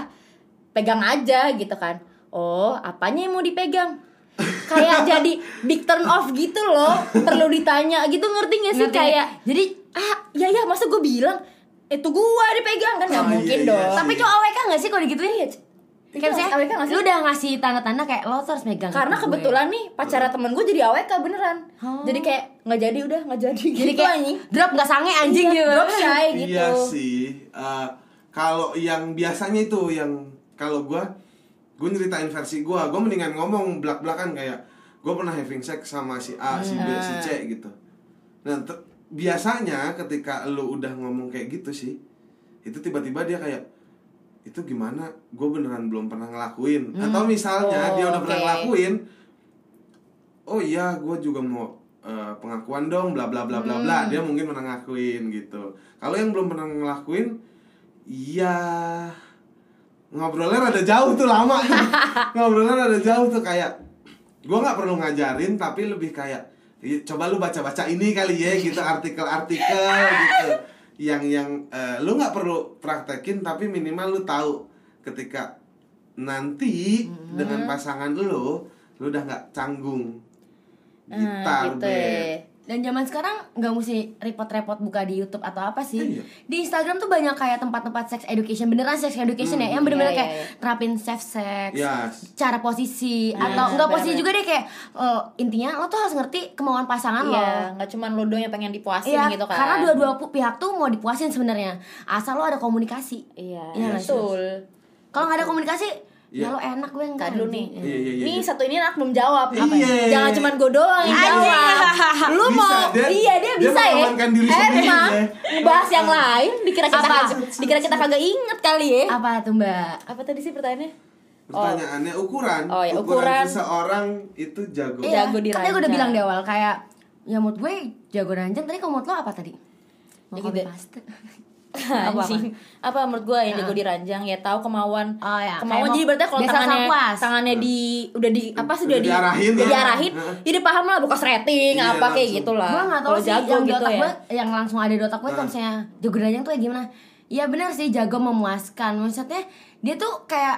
Speaker 2: pegang aja gitu kan oh apanya yang mau dipegang kayak jadi big turn off gitu loh perlu ditanya gitu ngerti gak sih
Speaker 3: Ngerti.
Speaker 2: kayak jadi ah ya ya masa gue bilang itu gua dipegang kan nggak
Speaker 1: Oh, iya,
Speaker 2: mungkin
Speaker 1: iya
Speaker 2: dong
Speaker 1: sih.
Speaker 3: tapi cowok AWK gak sih kalau digituin ya
Speaker 2: Iya,
Speaker 3: kayak misalnya
Speaker 2: AWK nggak sih?
Speaker 3: lu udah ngasih tanda-tanda kayak lo tuh harus megang
Speaker 2: karena
Speaker 3: kaki gue.
Speaker 2: kebetulan nih pacara temen gue jadi awk beneran
Speaker 3: Iya. Oh.
Speaker 2: jadi kayak nggak jadi udah nggak jadi
Speaker 3: jadi
Speaker 2: gitu
Speaker 3: kayak
Speaker 2: anjing.
Speaker 3: drop gak sange anjing
Speaker 2: Iya,
Speaker 3: gitu
Speaker 2: drop shy gitu
Speaker 1: iya sih Eh, kalau yang biasanya itu yang kalau gua gue nyeritain versi gua gue mendingan ngomong belak belakan kayak gue pernah having sex sama si A si B si C gitu nah ter- biasanya ketika lu udah ngomong kayak gitu sih itu tiba-tiba dia kayak itu gimana gue beneran belum pernah ngelakuin atau misalnya dia udah pernah ngelakuin oh iya gue juga mau eh, pengakuan dong bla bla bla bla bla dia mungkin pernah ngakuin gitu kalau yang belum pernah ngelakuin iya ngobrolnya rada jauh tuh lama tuh. ngobrolnya rada jauh tuh kayak gue nggak perlu ngajarin tapi lebih kayak "Ih, coba lu baca baca ini kali ya gitu artikel-artikel gitu yang yang eh, lu nggak perlu praktekin tapi minimal lu tahu ketika nanti
Speaker 2: Mm-hmm.
Speaker 1: dengan pasangan lu lu udah nggak canggung gitar
Speaker 2: gitu
Speaker 1: Beb.
Speaker 3: dan zaman sekarang nggak mesti repot-repot buka di YouTube atau apa sih
Speaker 1: Iya.
Speaker 3: di Instagram tuh banyak kayak tempat-tempat sex education beneran sex education ya
Speaker 1: Hmm,
Speaker 3: yang bener-bener
Speaker 2: Iya,
Speaker 3: kayak
Speaker 2: iya,
Speaker 3: terapin safe sex
Speaker 1: Yes.
Speaker 3: cara posisi
Speaker 2: iya,
Speaker 3: atau nggak posisi juga deh kayak eh, intinya lo tuh harus ngerti kemauan pasangan lo
Speaker 2: Iya, nggak cuman lo doang yang pengen dipuasin
Speaker 3: Iya,
Speaker 2: gitu kan
Speaker 3: karena dua-dua pu- pihak tuh mau dipuasin sebenarnya. Asal lo ada komunikasi.
Speaker 2: Iya,
Speaker 3: Iya, nggak sih?
Speaker 2: betul
Speaker 3: Kalau nggak ada komunikasi,
Speaker 1: Iya.
Speaker 3: ya lo enak gue enggak
Speaker 2: Ntar dulu nih
Speaker 1: Iya, iya, iya,
Speaker 2: Nih
Speaker 1: iya.
Speaker 2: satu ini anak belum jawab ya?
Speaker 1: Iya.
Speaker 2: Jangan cuman gue doang yang
Speaker 3: Anjing, iya.
Speaker 2: jawab Lu
Speaker 1: Bisa,
Speaker 2: mau
Speaker 1: dia-
Speaker 2: iya dia,
Speaker 1: dia
Speaker 2: bisa ya.
Speaker 1: mengamankan diri sendiri
Speaker 2: Emang
Speaker 1: ya.
Speaker 2: bahas yang lain dikira kita
Speaker 3: Apa?
Speaker 2: dikira kita kagak inget kali ya.
Speaker 3: Apa tuh mbak?
Speaker 2: Apa tadi sih pertanyaannya?
Speaker 1: Pertanyaannya ukuran.
Speaker 2: Oh, ya, ukuran.
Speaker 1: seseorang itu jago.
Speaker 2: Iya. Jago
Speaker 3: Kan tadi gue udah
Speaker 2: dirancang.
Speaker 3: bilang di awal kayak ya menurut gue jago rancang tadi kalau menurut lo apa tadi? Mau
Speaker 2: Ya
Speaker 3: copy
Speaker 2: gitu.
Speaker 3: paste. Apa-apa?
Speaker 2: Anjing. Apa menurut gue yang jago diranjang ya tahu kemauan
Speaker 3: Oh, ya.
Speaker 2: kemauan
Speaker 3: Kayak
Speaker 2: jadi
Speaker 3: mau-
Speaker 2: berarti kalau
Speaker 3: biasa
Speaker 2: tangannya
Speaker 3: self-was.
Speaker 2: tangannya di udah di apa sih
Speaker 1: Udah
Speaker 2: udah di
Speaker 1: diarahin
Speaker 2: udah
Speaker 1: lah.
Speaker 2: diarahin
Speaker 1: Heeh.
Speaker 2: jadi paham lah buka rating
Speaker 1: Iya,
Speaker 2: apa kayak
Speaker 1: langsung.
Speaker 2: gitulah
Speaker 3: gue nggak tahu
Speaker 2: kalau
Speaker 3: sih
Speaker 2: jago
Speaker 3: yang di
Speaker 2: gitu
Speaker 3: otak
Speaker 2: ya Ah.
Speaker 3: gue yang langsung ada di otak gue kalau misalnya jago dirancang tuh kayak gimana ya benar sih jago memuaskan maksudnya dia tuh kayak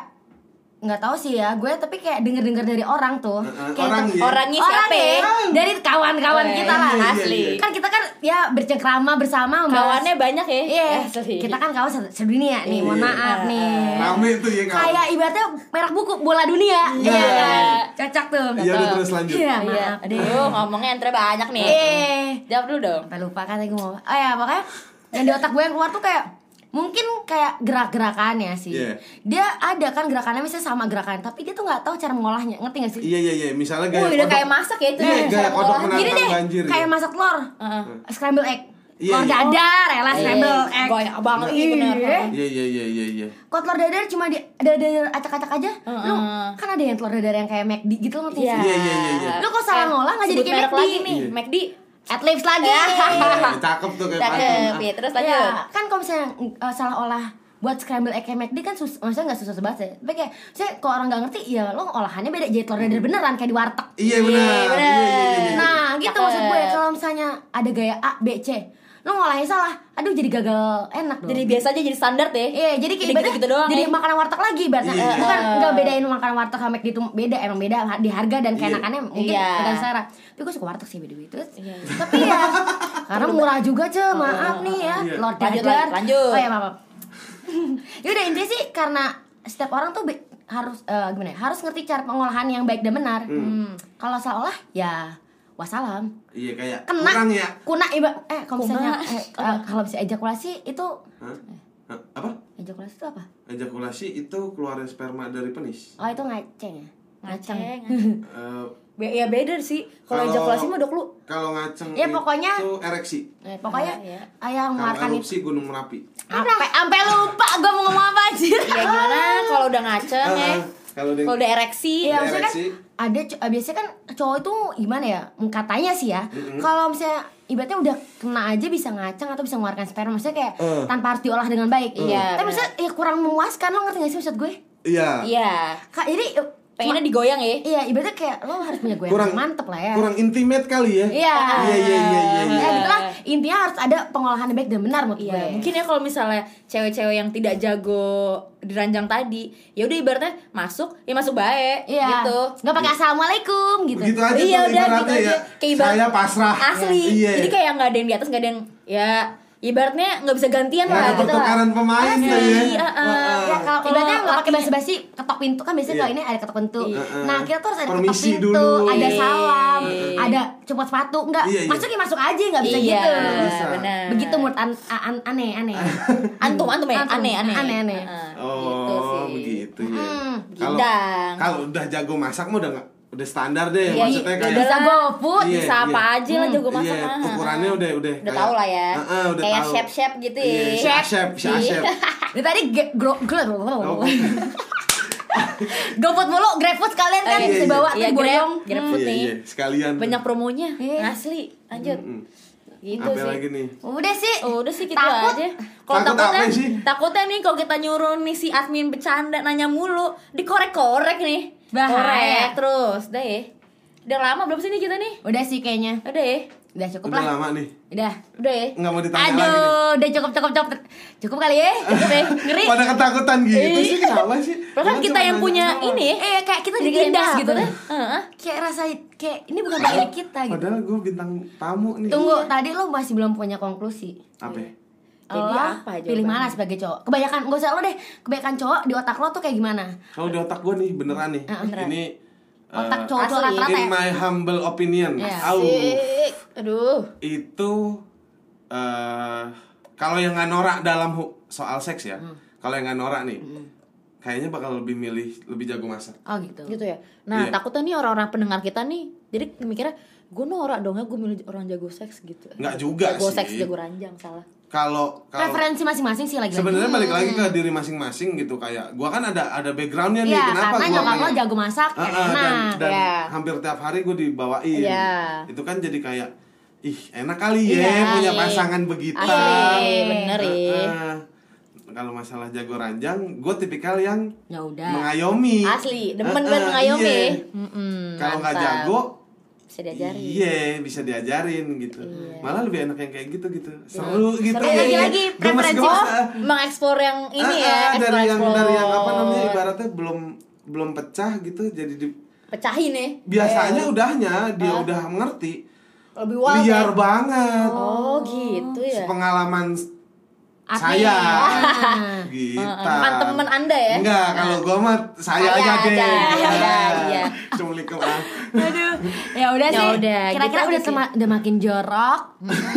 Speaker 3: nggak tahu sih ya gue tapi kayak denger denger dari orang tuh
Speaker 2: Eh,
Speaker 1: Heeh,
Speaker 3: kayak
Speaker 1: orang
Speaker 3: tuh-
Speaker 1: ya.
Speaker 2: orangnya siapa
Speaker 3: ya, dari kawan-kawan
Speaker 2: Weh,
Speaker 3: kita lah
Speaker 1: iya, iya,
Speaker 2: iya. asli.
Speaker 1: iya.
Speaker 3: kan kita kan ya bercengkrama bersama membahas-
Speaker 2: kawannya banyak ya
Speaker 3: Iya,
Speaker 2: Asli.
Speaker 3: kita kan kawan se- sedunia nih, mohon
Speaker 1: Eh, Iya.
Speaker 3: maaf nih.
Speaker 1: Rame tuh ya kawan.
Speaker 3: Kayak ibaratnya merek buku bola dunia. kan?
Speaker 1: Iya.
Speaker 3: Cocok tuh.
Speaker 1: Iya, udah terus lanjut.
Speaker 3: Iya,
Speaker 2: iya
Speaker 3: maaf.
Speaker 2: aduh ngomongnya antre banyak nih
Speaker 1: Iya.
Speaker 3: Eh.
Speaker 2: jawab dulu dong
Speaker 3: sampai lupa kan tadi gue mau oh ya pokoknya yang di otak gue yang keluar tuh kayak mungkin kayak gerak-gerakannya sih
Speaker 1: Iya.
Speaker 3: dia ada kan gerakannya misalnya sama gerakan tapi dia tuh nggak tahu cara mengolahnya ngerti gak sih
Speaker 1: Iya iya iya, misalnya gaya
Speaker 2: Wih, udah
Speaker 1: kodok-
Speaker 2: kayak masak ya itu
Speaker 1: Iya,
Speaker 2: ya,
Speaker 1: gaya
Speaker 2: cara
Speaker 1: kodok
Speaker 2: mengolah.
Speaker 1: menantang
Speaker 3: gini deh
Speaker 1: banjir.
Speaker 3: kayak
Speaker 1: ya.
Speaker 3: masak telur scramble egg
Speaker 1: Iya,
Speaker 3: telur
Speaker 1: iya.
Speaker 3: dadar ya lah scramble egg
Speaker 2: banyak banget iya benar
Speaker 3: Iya.
Speaker 1: Iya iya iya iya iya.
Speaker 3: Kalau telur dadar cuma di dadar acak-acak aja lu kan ada yang telur dadar yang kayak McD gitu lo ngerti nggak
Speaker 1: Iya iya iya iya.
Speaker 3: sih lu kok salah ngolah nggak
Speaker 2: Eh,
Speaker 3: jadi
Speaker 2: Sebut
Speaker 3: kayak
Speaker 2: merek
Speaker 3: McD
Speaker 2: lagi nih
Speaker 1: Iya.
Speaker 2: McD
Speaker 3: at least lagi
Speaker 1: Iya, Cakep tuh kayak
Speaker 2: cakep
Speaker 1: pantun.
Speaker 2: ya terus
Speaker 3: Iya,
Speaker 2: lanjut
Speaker 3: kan kalau misalnya uh, salah olah buat scramble egg kayak McD kan sus maksudnya nggak susah banget ya. Tapi kayak saya kalau orang nggak ngerti ya lo olahannya beda jadi telur dadar beneran kayak di warteg.
Speaker 1: Iya benar. Iya iya iya, iya.
Speaker 3: Nah, gitu maksud gue kalau misalnya ada gaya A B C lo ngolahnya salah, aduh jadi gagal enak dong.
Speaker 2: jadi biasa aja jadi standar deh
Speaker 3: Iya, jadi kayak
Speaker 2: Jadi
Speaker 3: ibaratnya
Speaker 2: gitu-gitu doang,
Speaker 3: jadi
Speaker 2: ya?
Speaker 3: makanan warteg lagi ibaratnya. Eh,
Speaker 1: Iya.
Speaker 3: Bukan enggak bedain makanan warteg sama McD itu beda, emang beda di harga dan keenakannya mungkin
Speaker 2: Iya.
Speaker 3: bukan selera. Tapi gue suka warteg sih by the way. Terus, Tapi ya karena murah juga, Ce. Maaf nih ya.
Speaker 1: Iya.
Speaker 3: Lord
Speaker 2: Oh, Lanjut,
Speaker 3: Dadar.
Speaker 2: lanjut.
Speaker 3: Oh ya, maaf. ya udah intinya sih karena setiap orang tuh be- harus eh, gimana ya? Harus ngerti cara pengolahan yang baik dan benar. Hmm. Kalau salah olah ya wassalam
Speaker 1: Iya kayak
Speaker 3: kena
Speaker 1: kurang ya.
Speaker 3: kuna iba eh kalau misalnya eh, eh, kalau misalnya ejakulasi itu
Speaker 1: Hah? Hah? Apa?
Speaker 3: ejakulasi itu apa
Speaker 1: Ejakulasi itu keluarnya sperma dari penis.
Speaker 3: Oh itu ngaceng ya?
Speaker 2: ngaceng
Speaker 1: Eh,
Speaker 2: Be- ya beda sih kalau
Speaker 1: Kalau-
Speaker 2: ejakulasi mah dok lu
Speaker 1: kalau ngaceng
Speaker 3: Ya, pokoknya-
Speaker 1: itu ereksi.
Speaker 3: Eh, pokoknya
Speaker 2: Iya.
Speaker 3: ayah
Speaker 1: Kalau
Speaker 3: mengeluarkan itu
Speaker 1: erupsi gunung merapi.
Speaker 3: Ampe, ampe lupa gue mau ngomong apa anjir
Speaker 2: ya gimana kalau udah ngaceng ya
Speaker 1: Ah, Kalau dia
Speaker 2: kalau udah ereksi
Speaker 1: Ada
Speaker 3: Iya maksudnya kan
Speaker 1: ereksi.
Speaker 3: ada co- biasanya kan cowok itu gimana ya katanya sih ya kalau misalnya ibaratnya udah kena aja bisa ngaceng atau bisa mengeluarkan sperma maksudnya kayak
Speaker 1: Eh.
Speaker 3: tanpa harus diolah dengan baik
Speaker 2: Iya,
Speaker 3: tapi maksudnya ya kurang memuaskan lo ngerti gak sih maksud gue
Speaker 1: Iya.
Speaker 2: iya
Speaker 3: Kak, jadi eh,
Speaker 2: pengennya digoyang ya
Speaker 3: iya ibaratnya kayak lo harus punya gue
Speaker 1: Kurang-
Speaker 3: yang mantep lah ya
Speaker 1: Kurang intimate kali ya.
Speaker 3: iya
Speaker 1: Iya iya iya iya.
Speaker 3: ya
Speaker 1: iya.
Speaker 3: gitu lah intinya harus ada pengolahan yang baik dan benar menurut
Speaker 2: Iya,
Speaker 3: gue
Speaker 2: mungkin ya kalau misalnya cewek-cewek yang tidak jago diranjang tadi, ya udah ibaratnya masuk, ya masuk baik
Speaker 3: Iya.
Speaker 2: gitu.
Speaker 3: Nggak pakai assalamualaikum gitu.
Speaker 1: Begitu aja
Speaker 2: Iya,
Speaker 1: tuh
Speaker 2: udah,
Speaker 1: ibaratnya
Speaker 2: gitu
Speaker 1: ya.
Speaker 2: aja. Kayak ibarat-
Speaker 1: Saya pasrah.
Speaker 2: Asli.
Speaker 1: Iya.
Speaker 2: Jadi kayak nggak ada yang di atas, nggak ada yang ya ibaratnya nggak bisa gantian
Speaker 1: Nggak
Speaker 2: lah
Speaker 1: ada
Speaker 2: gitu lah.
Speaker 1: pertukaran pemain tuh ya.
Speaker 2: Iya, eh.
Speaker 1: Heeh.
Speaker 3: Ya kalau
Speaker 2: Kalau
Speaker 3: ibaratnya nggak pakai
Speaker 2: lakinya-
Speaker 3: basa-basi ketok pintu kan biasanya
Speaker 1: Iya.
Speaker 3: kalau ini ada ketok pintu.
Speaker 1: Iya.
Speaker 3: Nah kita tuh harus ada
Speaker 1: Permisi
Speaker 3: ketok pintu,
Speaker 1: dulu.
Speaker 3: ada
Speaker 1: Iya.
Speaker 3: salam, ada copot sepatu, nggak
Speaker 1: Iya, iya.
Speaker 3: masuk ya masuk aja nggak bisa
Speaker 2: Iya,
Speaker 3: gitu.
Speaker 1: bisa.
Speaker 2: benar.
Speaker 3: Begitu menurut an- a- an- aneh aneh.
Speaker 2: Antum, antum ya,
Speaker 3: Antum.
Speaker 2: aneh, aneh,
Speaker 3: Aneh, aneh.
Speaker 2: Heeh, gitu
Speaker 1: Oh,
Speaker 2: sih.
Speaker 1: begitu ya. Kalau
Speaker 2: Gidang.
Speaker 1: kalau udah jago masak mah udah nggak udah standar deh
Speaker 2: Iya,
Speaker 1: maksudnya
Speaker 2: iya,
Speaker 1: kayak
Speaker 2: udah
Speaker 3: Bisa
Speaker 2: Iya.
Speaker 3: GoFood.
Speaker 1: Iya,
Speaker 2: bisa apa
Speaker 1: iya.
Speaker 2: aja lah jago masak
Speaker 1: Iya,
Speaker 2: mah.
Speaker 1: ukurannya udah udah
Speaker 2: Udah tahu lah ya.
Speaker 1: Heeh, udah
Speaker 2: kayak
Speaker 1: tahu.
Speaker 2: chef-chef gitu ya.
Speaker 1: Iya, si Asep, si Asep.
Speaker 3: Ini tadi ge- gro gro
Speaker 1: Oh,
Speaker 3: GoFood mulu, GrabFood sekalian kan
Speaker 1: Iya,
Speaker 3: bisa
Speaker 1: iya.
Speaker 3: bawa
Speaker 2: Iya,
Speaker 3: tuh
Speaker 2: grab,
Speaker 3: boyong.
Speaker 2: grab food
Speaker 1: Iya,
Speaker 2: nih.
Speaker 1: iya, sekalian.
Speaker 2: Banyak promonya.
Speaker 3: Iya.
Speaker 2: Asli, lanjut. Gitu
Speaker 1: Hmm, apa
Speaker 2: sih.
Speaker 1: lagi nih?
Speaker 3: Udah sih.
Speaker 2: Oh, udah sih gitu
Speaker 3: Takut.
Speaker 2: aja. Kalau
Speaker 1: Takut
Speaker 2: takutnya,
Speaker 1: apa sih?
Speaker 2: takutnya nih kalau kita nyuruh nih si admin bercanda nanya mulu, dikorek-korek nih.
Speaker 3: Bahaya.
Speaker 2: Korek terus, deh. Udah lama belum sih nih kita nih?
Speaker 3: Udah sih kayaknya.
Speaker 2: Udah ya?
Speaker 3: Udah cukup
Speaker 1: Udah
Speaker 3: lah.
Speaker 1: lama nih.
Speaker 3: Udah.
Speaker 2: Udah ya?
Speaker 1: Nggak mau ditanya
Speaker 3: Aduh,
Speaker 1: lagi nih.
Speaker 3: udah cukup cukup cukup cukup kali ya.
Speaker 2: Cukup ya? Ngeri.
Speaker 1: Pada ketakutan gitu sih kenapa sih?
Speaker 2: Bahkan
Speaker 1: Orang
Speaker 2: kita
Speaker 1: cuma
Speaker 2: yang punya
Speaker 1: nanya doang.
Speaker 2: ini ya.
Speaker 3: Eh kayak kita
Speaker 2: Jadi
Speaker 3: jadi
Speaker 2: kayak
Speaker 3: gitu
Speaker 2: double.
Speaker 3: deh.
Speaker 2: Heeh.
Speaker 3: Kayak rasa kayak ini bukan milik kita gitu.
Speaker 1: Padahal ya. gue bintang tamu nih.
Speaker 3: Tunggu, tadi lo masih belum punya konklusi.
Speaker 1: Apa? ya?
Speaker 2: Jadi
Speaker 3: Lo
Speaker 2: apa jawabannya?
Speaker 3: Pilih mana sebagai cowok? Kebanyakan gak usah lo deh. Kebanyakan cowok di otak lo tuh kayak gimana?
Speaker 1: Kalau di otak gue nih beneran nih.
Speaker 2: Ah,
Speaker 1: Ini eh,
Speaker 3: Otak cowok tuh
Speaker 2: asli.
Speaker 3: rata-rata
Speaker 1: in
Speaker 3: ya.
Speaker 1: my humble opinion. Au.
Speaker 2: Iya. Asik. Aduh.
Speaker 1: itu eh kalau yang nggak norak dalam hu- soal seks ya
Speaker 2: Hmm.
Speaker 1: kalau yang nggak norak nih kayaknya bakal lebih milih lebih jago masak
Speaker 3: Oh gitu.
Speaker 2: Gitu ya.
Speaker 1: Iya.
Speaker 2: Nah, takutnya nih orang-orang pendengar kita nih jadi mikirnya gue norak dong ya gue milih orang jago seks gitu
Speaker 1: Nggak juga Iya
Speaker 2: jago
Speaker 1: sih.
Speaker 2: seks jago ranjang salah
Speaker 1: kalau kalau
Speaker 3: Preferensi masing-masing sih lagi.
Speaker 1: sebenarnya balik lagi ke diri masing-masing gitu kayak gua kan ada ada backgroundnya nih
Speaker 3: Iya,
Speaker 1: kenapa
Speaker 3: karena
Speaker 1: gua
Speaker 3: nyokap lo
Speaker 1: pengen-
Speaker 3: jago masak, ya
Speaker 1: Ah, ah, dan,
Speaker 3: enak.
Speaker 1: dan
Speaker 2: ya.
Speaker 1: hampir tiap hari gue dibawain
Speaker 2: Iya.
Speaker 1: itu kan jadi kayak ih enak kali ya
Speaker 3: Iya,
Speaker 1: punya
Speaker 3: iya.
Speaker 1: pasangan begitu
Speaker 2: asli bener ya
Speaker 1: Ah, ah. kalau masalah jago ranjang gue tipikal yang
Speaker 3: Ya udah.
Speaker 1: mengayomi
Speaker 2: asli demen
Speaker 1: Ah,
Speaker 2: banget
Speaker 1: ah,
Speaker 2: mengayomi
Speaker 1: iya.
Speaker 2: Mm-mm,
Speaker 1: kalau nggak
Speaker 2: Hmm, mantap.
Speaker 1: jago
Speaker 2: bisa diajarin
Speaker 1: iya bisa diajarin gitu malah lebih enak yang kayak gitu gitu seru gitu
Speaker 2: Seru. Iya. Eh, Lagi-lagi
Speaker 1: Gemes-gemes, ah.
Speaker 2: mengeksplor yang ini
Speaker 1: Ah,
Speaker 2: ya
Speaker 1: ah, dari yang
Speaker 2: eksplor-eksplor.
Speaker 1: dari yang apa namanya ibaratnya belum belum pecah gitu jadi di,
Speaker 2: pecahin ya
Speaker 1: biasanya udahnya dia udah ngerti
Speaker 2: lebih wild ya.
Speaker 1: liar banget
Speaker 2: oh gitu ya
Speaker 1: pengalaman
Speaker 3: Artinya
Speaker 1: saya
Speaker 3: ya.
Speaker 1: gitu
Speaker 2: bukan temen Anda ya?
Speaker 1: enggak kalau gua mah saya
Speaker 2: Saya
Speaker 1: aja deh
Speaker 2: aja,
Speaker 1: Gitu.
Speaker 2: iya, iya.
Speaker 1: Assalamualaikum ah.
Speaker 3: ya udah
Speaker 2: Ya
Speaker 3: sih Hmm. Ah,
Speaker 2: udah,
Speaker 3: kira-kira
Speaker 2: gitu
Speaker 3: udah
Speaker 2: aja
Speaker 3: sema- udah makin jorok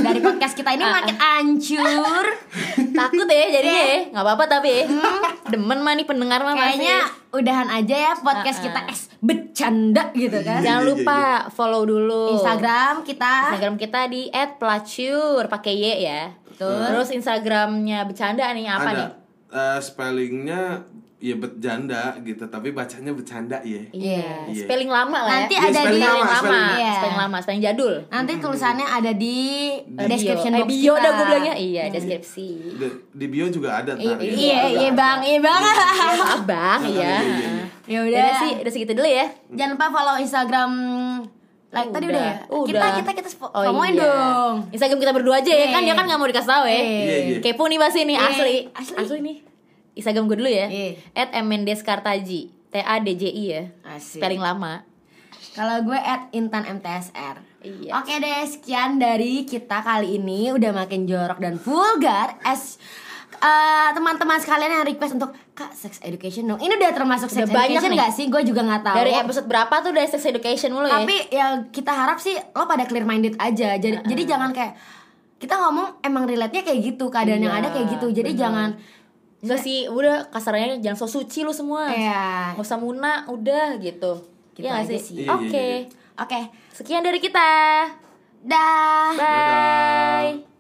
Speaker 3: dari podcast kita ini makin hancur
Speaker 2: takut ya jadinya ya nggak apa-apa tapi ya. demen mah nih pendengar mah masih.
Speaker 3: Iya. Hmm. kayaknya udahan aja ya podcast kita es bercanda gitu kan
Speaker 2: jangan
Speaker 1: Iya, iya,
Speaker 2: lupa follow dulu
Speaker 3: Instagram kita
Speaker 2: Instagram kita ya. di @pelacur pakai y ya terus Instagramnya bercanda nih apa
Speaker 1: ada
Speaker 2: nih
Speaker 1: eh, spellingnya ya berjanda gitu tapi bacanya bercanda ya
Speaker 2: Iya,
Speaker 1: Iya.
Speaker 2: spelling lama lah
Speaker 3: nanti
Speaker 1: Iya,
Speaker 2: ya.
Speaker 3: ada di
Speaker 1: spelling lama,
Speaker 2: spelling lama,
Speaker 1: spelling-
Speaker 3: Iya.
Speaker 2: spelling lama, spelling jadul.
Speaker 3: nanti tulisannya ada di
Speaker 2: Eh,
Speaker 3: description
Speaker 2: bio. eh,
Speaker 3: box
Speaker 2: bio
Speaker 3: kita. Hmm.
Speaker 2: dah gue bilangnya iya deskripsi
Speaker 1: di, di bio juga ada ntar ya.
Speaker 3: iya iya bang iya bang
Speaker 2: abang ya
Speaker 1: Iya, iya, iya.
Speaker 3: ya
Speaker 2: udah
Speaker 3: udah
Speaker 2: sih udah segitu dulu ya
Speaker 3: jangan lupa follow Instagram like tadi udah,
Speaker 2: Udah,
Speaker 3: ya kita
Speaker 2: udah.
Speaker 3: kita kita spo-
Speaker 2: Oh,
Speaker 3: promoin
Speaker 2: iya.
Speaker 3: dong
Speaker 2: Instagram kita berdua aja ya kan dia kan nggak mau dikasih tahu ya.
Speaker 1: Iya, iya.
Speaker 2: Kepo nih pasti nih
Speaker 3: Iya,
Speaker 2: asli.
Speaker 3: asli.
Speaker 2: asli. nih. Instagram gue dulu ya.
Speaker 3: Iya.
Speaker 2: At @mendeskartaji. T A D J I ya.
Speaker 3: Asik.
Speaker 2: Spelling lama.
Speaker 3: Kalau gue at Intan MTSR
Speaker 2: Iya.
Speaker 3: Oke deh, sekian dari kita kali ini Udah makin jorok dan vulgar As eh, teman-teman sekalian yang request untuk Kak, sex education dong Ini udah termasuk sex
Speaker 2: Udah banyak
Speaker 3: education
Speaker 2: nih.
Speaker 3: gak sih? Gue juga gak tahu
Speaker 2: Dari episode berapa tuh dari sex education mulu ya?
Speaker 3: Tapi ya kita harap sih lo pada clear minded aja Jadi, jadi jangan kayak Kita ngomong emang relate-nya kayak gitu Keadaan yang
Speaker 2: Iya,
Speaker 3: ada kayak gitu Jadi jangan
Speaker 2: Enggak sih, udah kasarnya jangan so suci lu semua.
Speaker 3: Iya.
Speaker 2: Nggak usah muna, udah gitu.
Speaker 3: Gitu
Speaker 2: Iya nggak
Speaker 3: aja
Speaker 2: sih.
Speaker 3: sih.
Speaker 1: Iya, iya,
Speaker 2: Oke.
Speaker 1: iya.
Speaker 3: Oke,
Speaker 2: Sekian dari kita.
Speaker 3: dah
Speaker 2: Bye.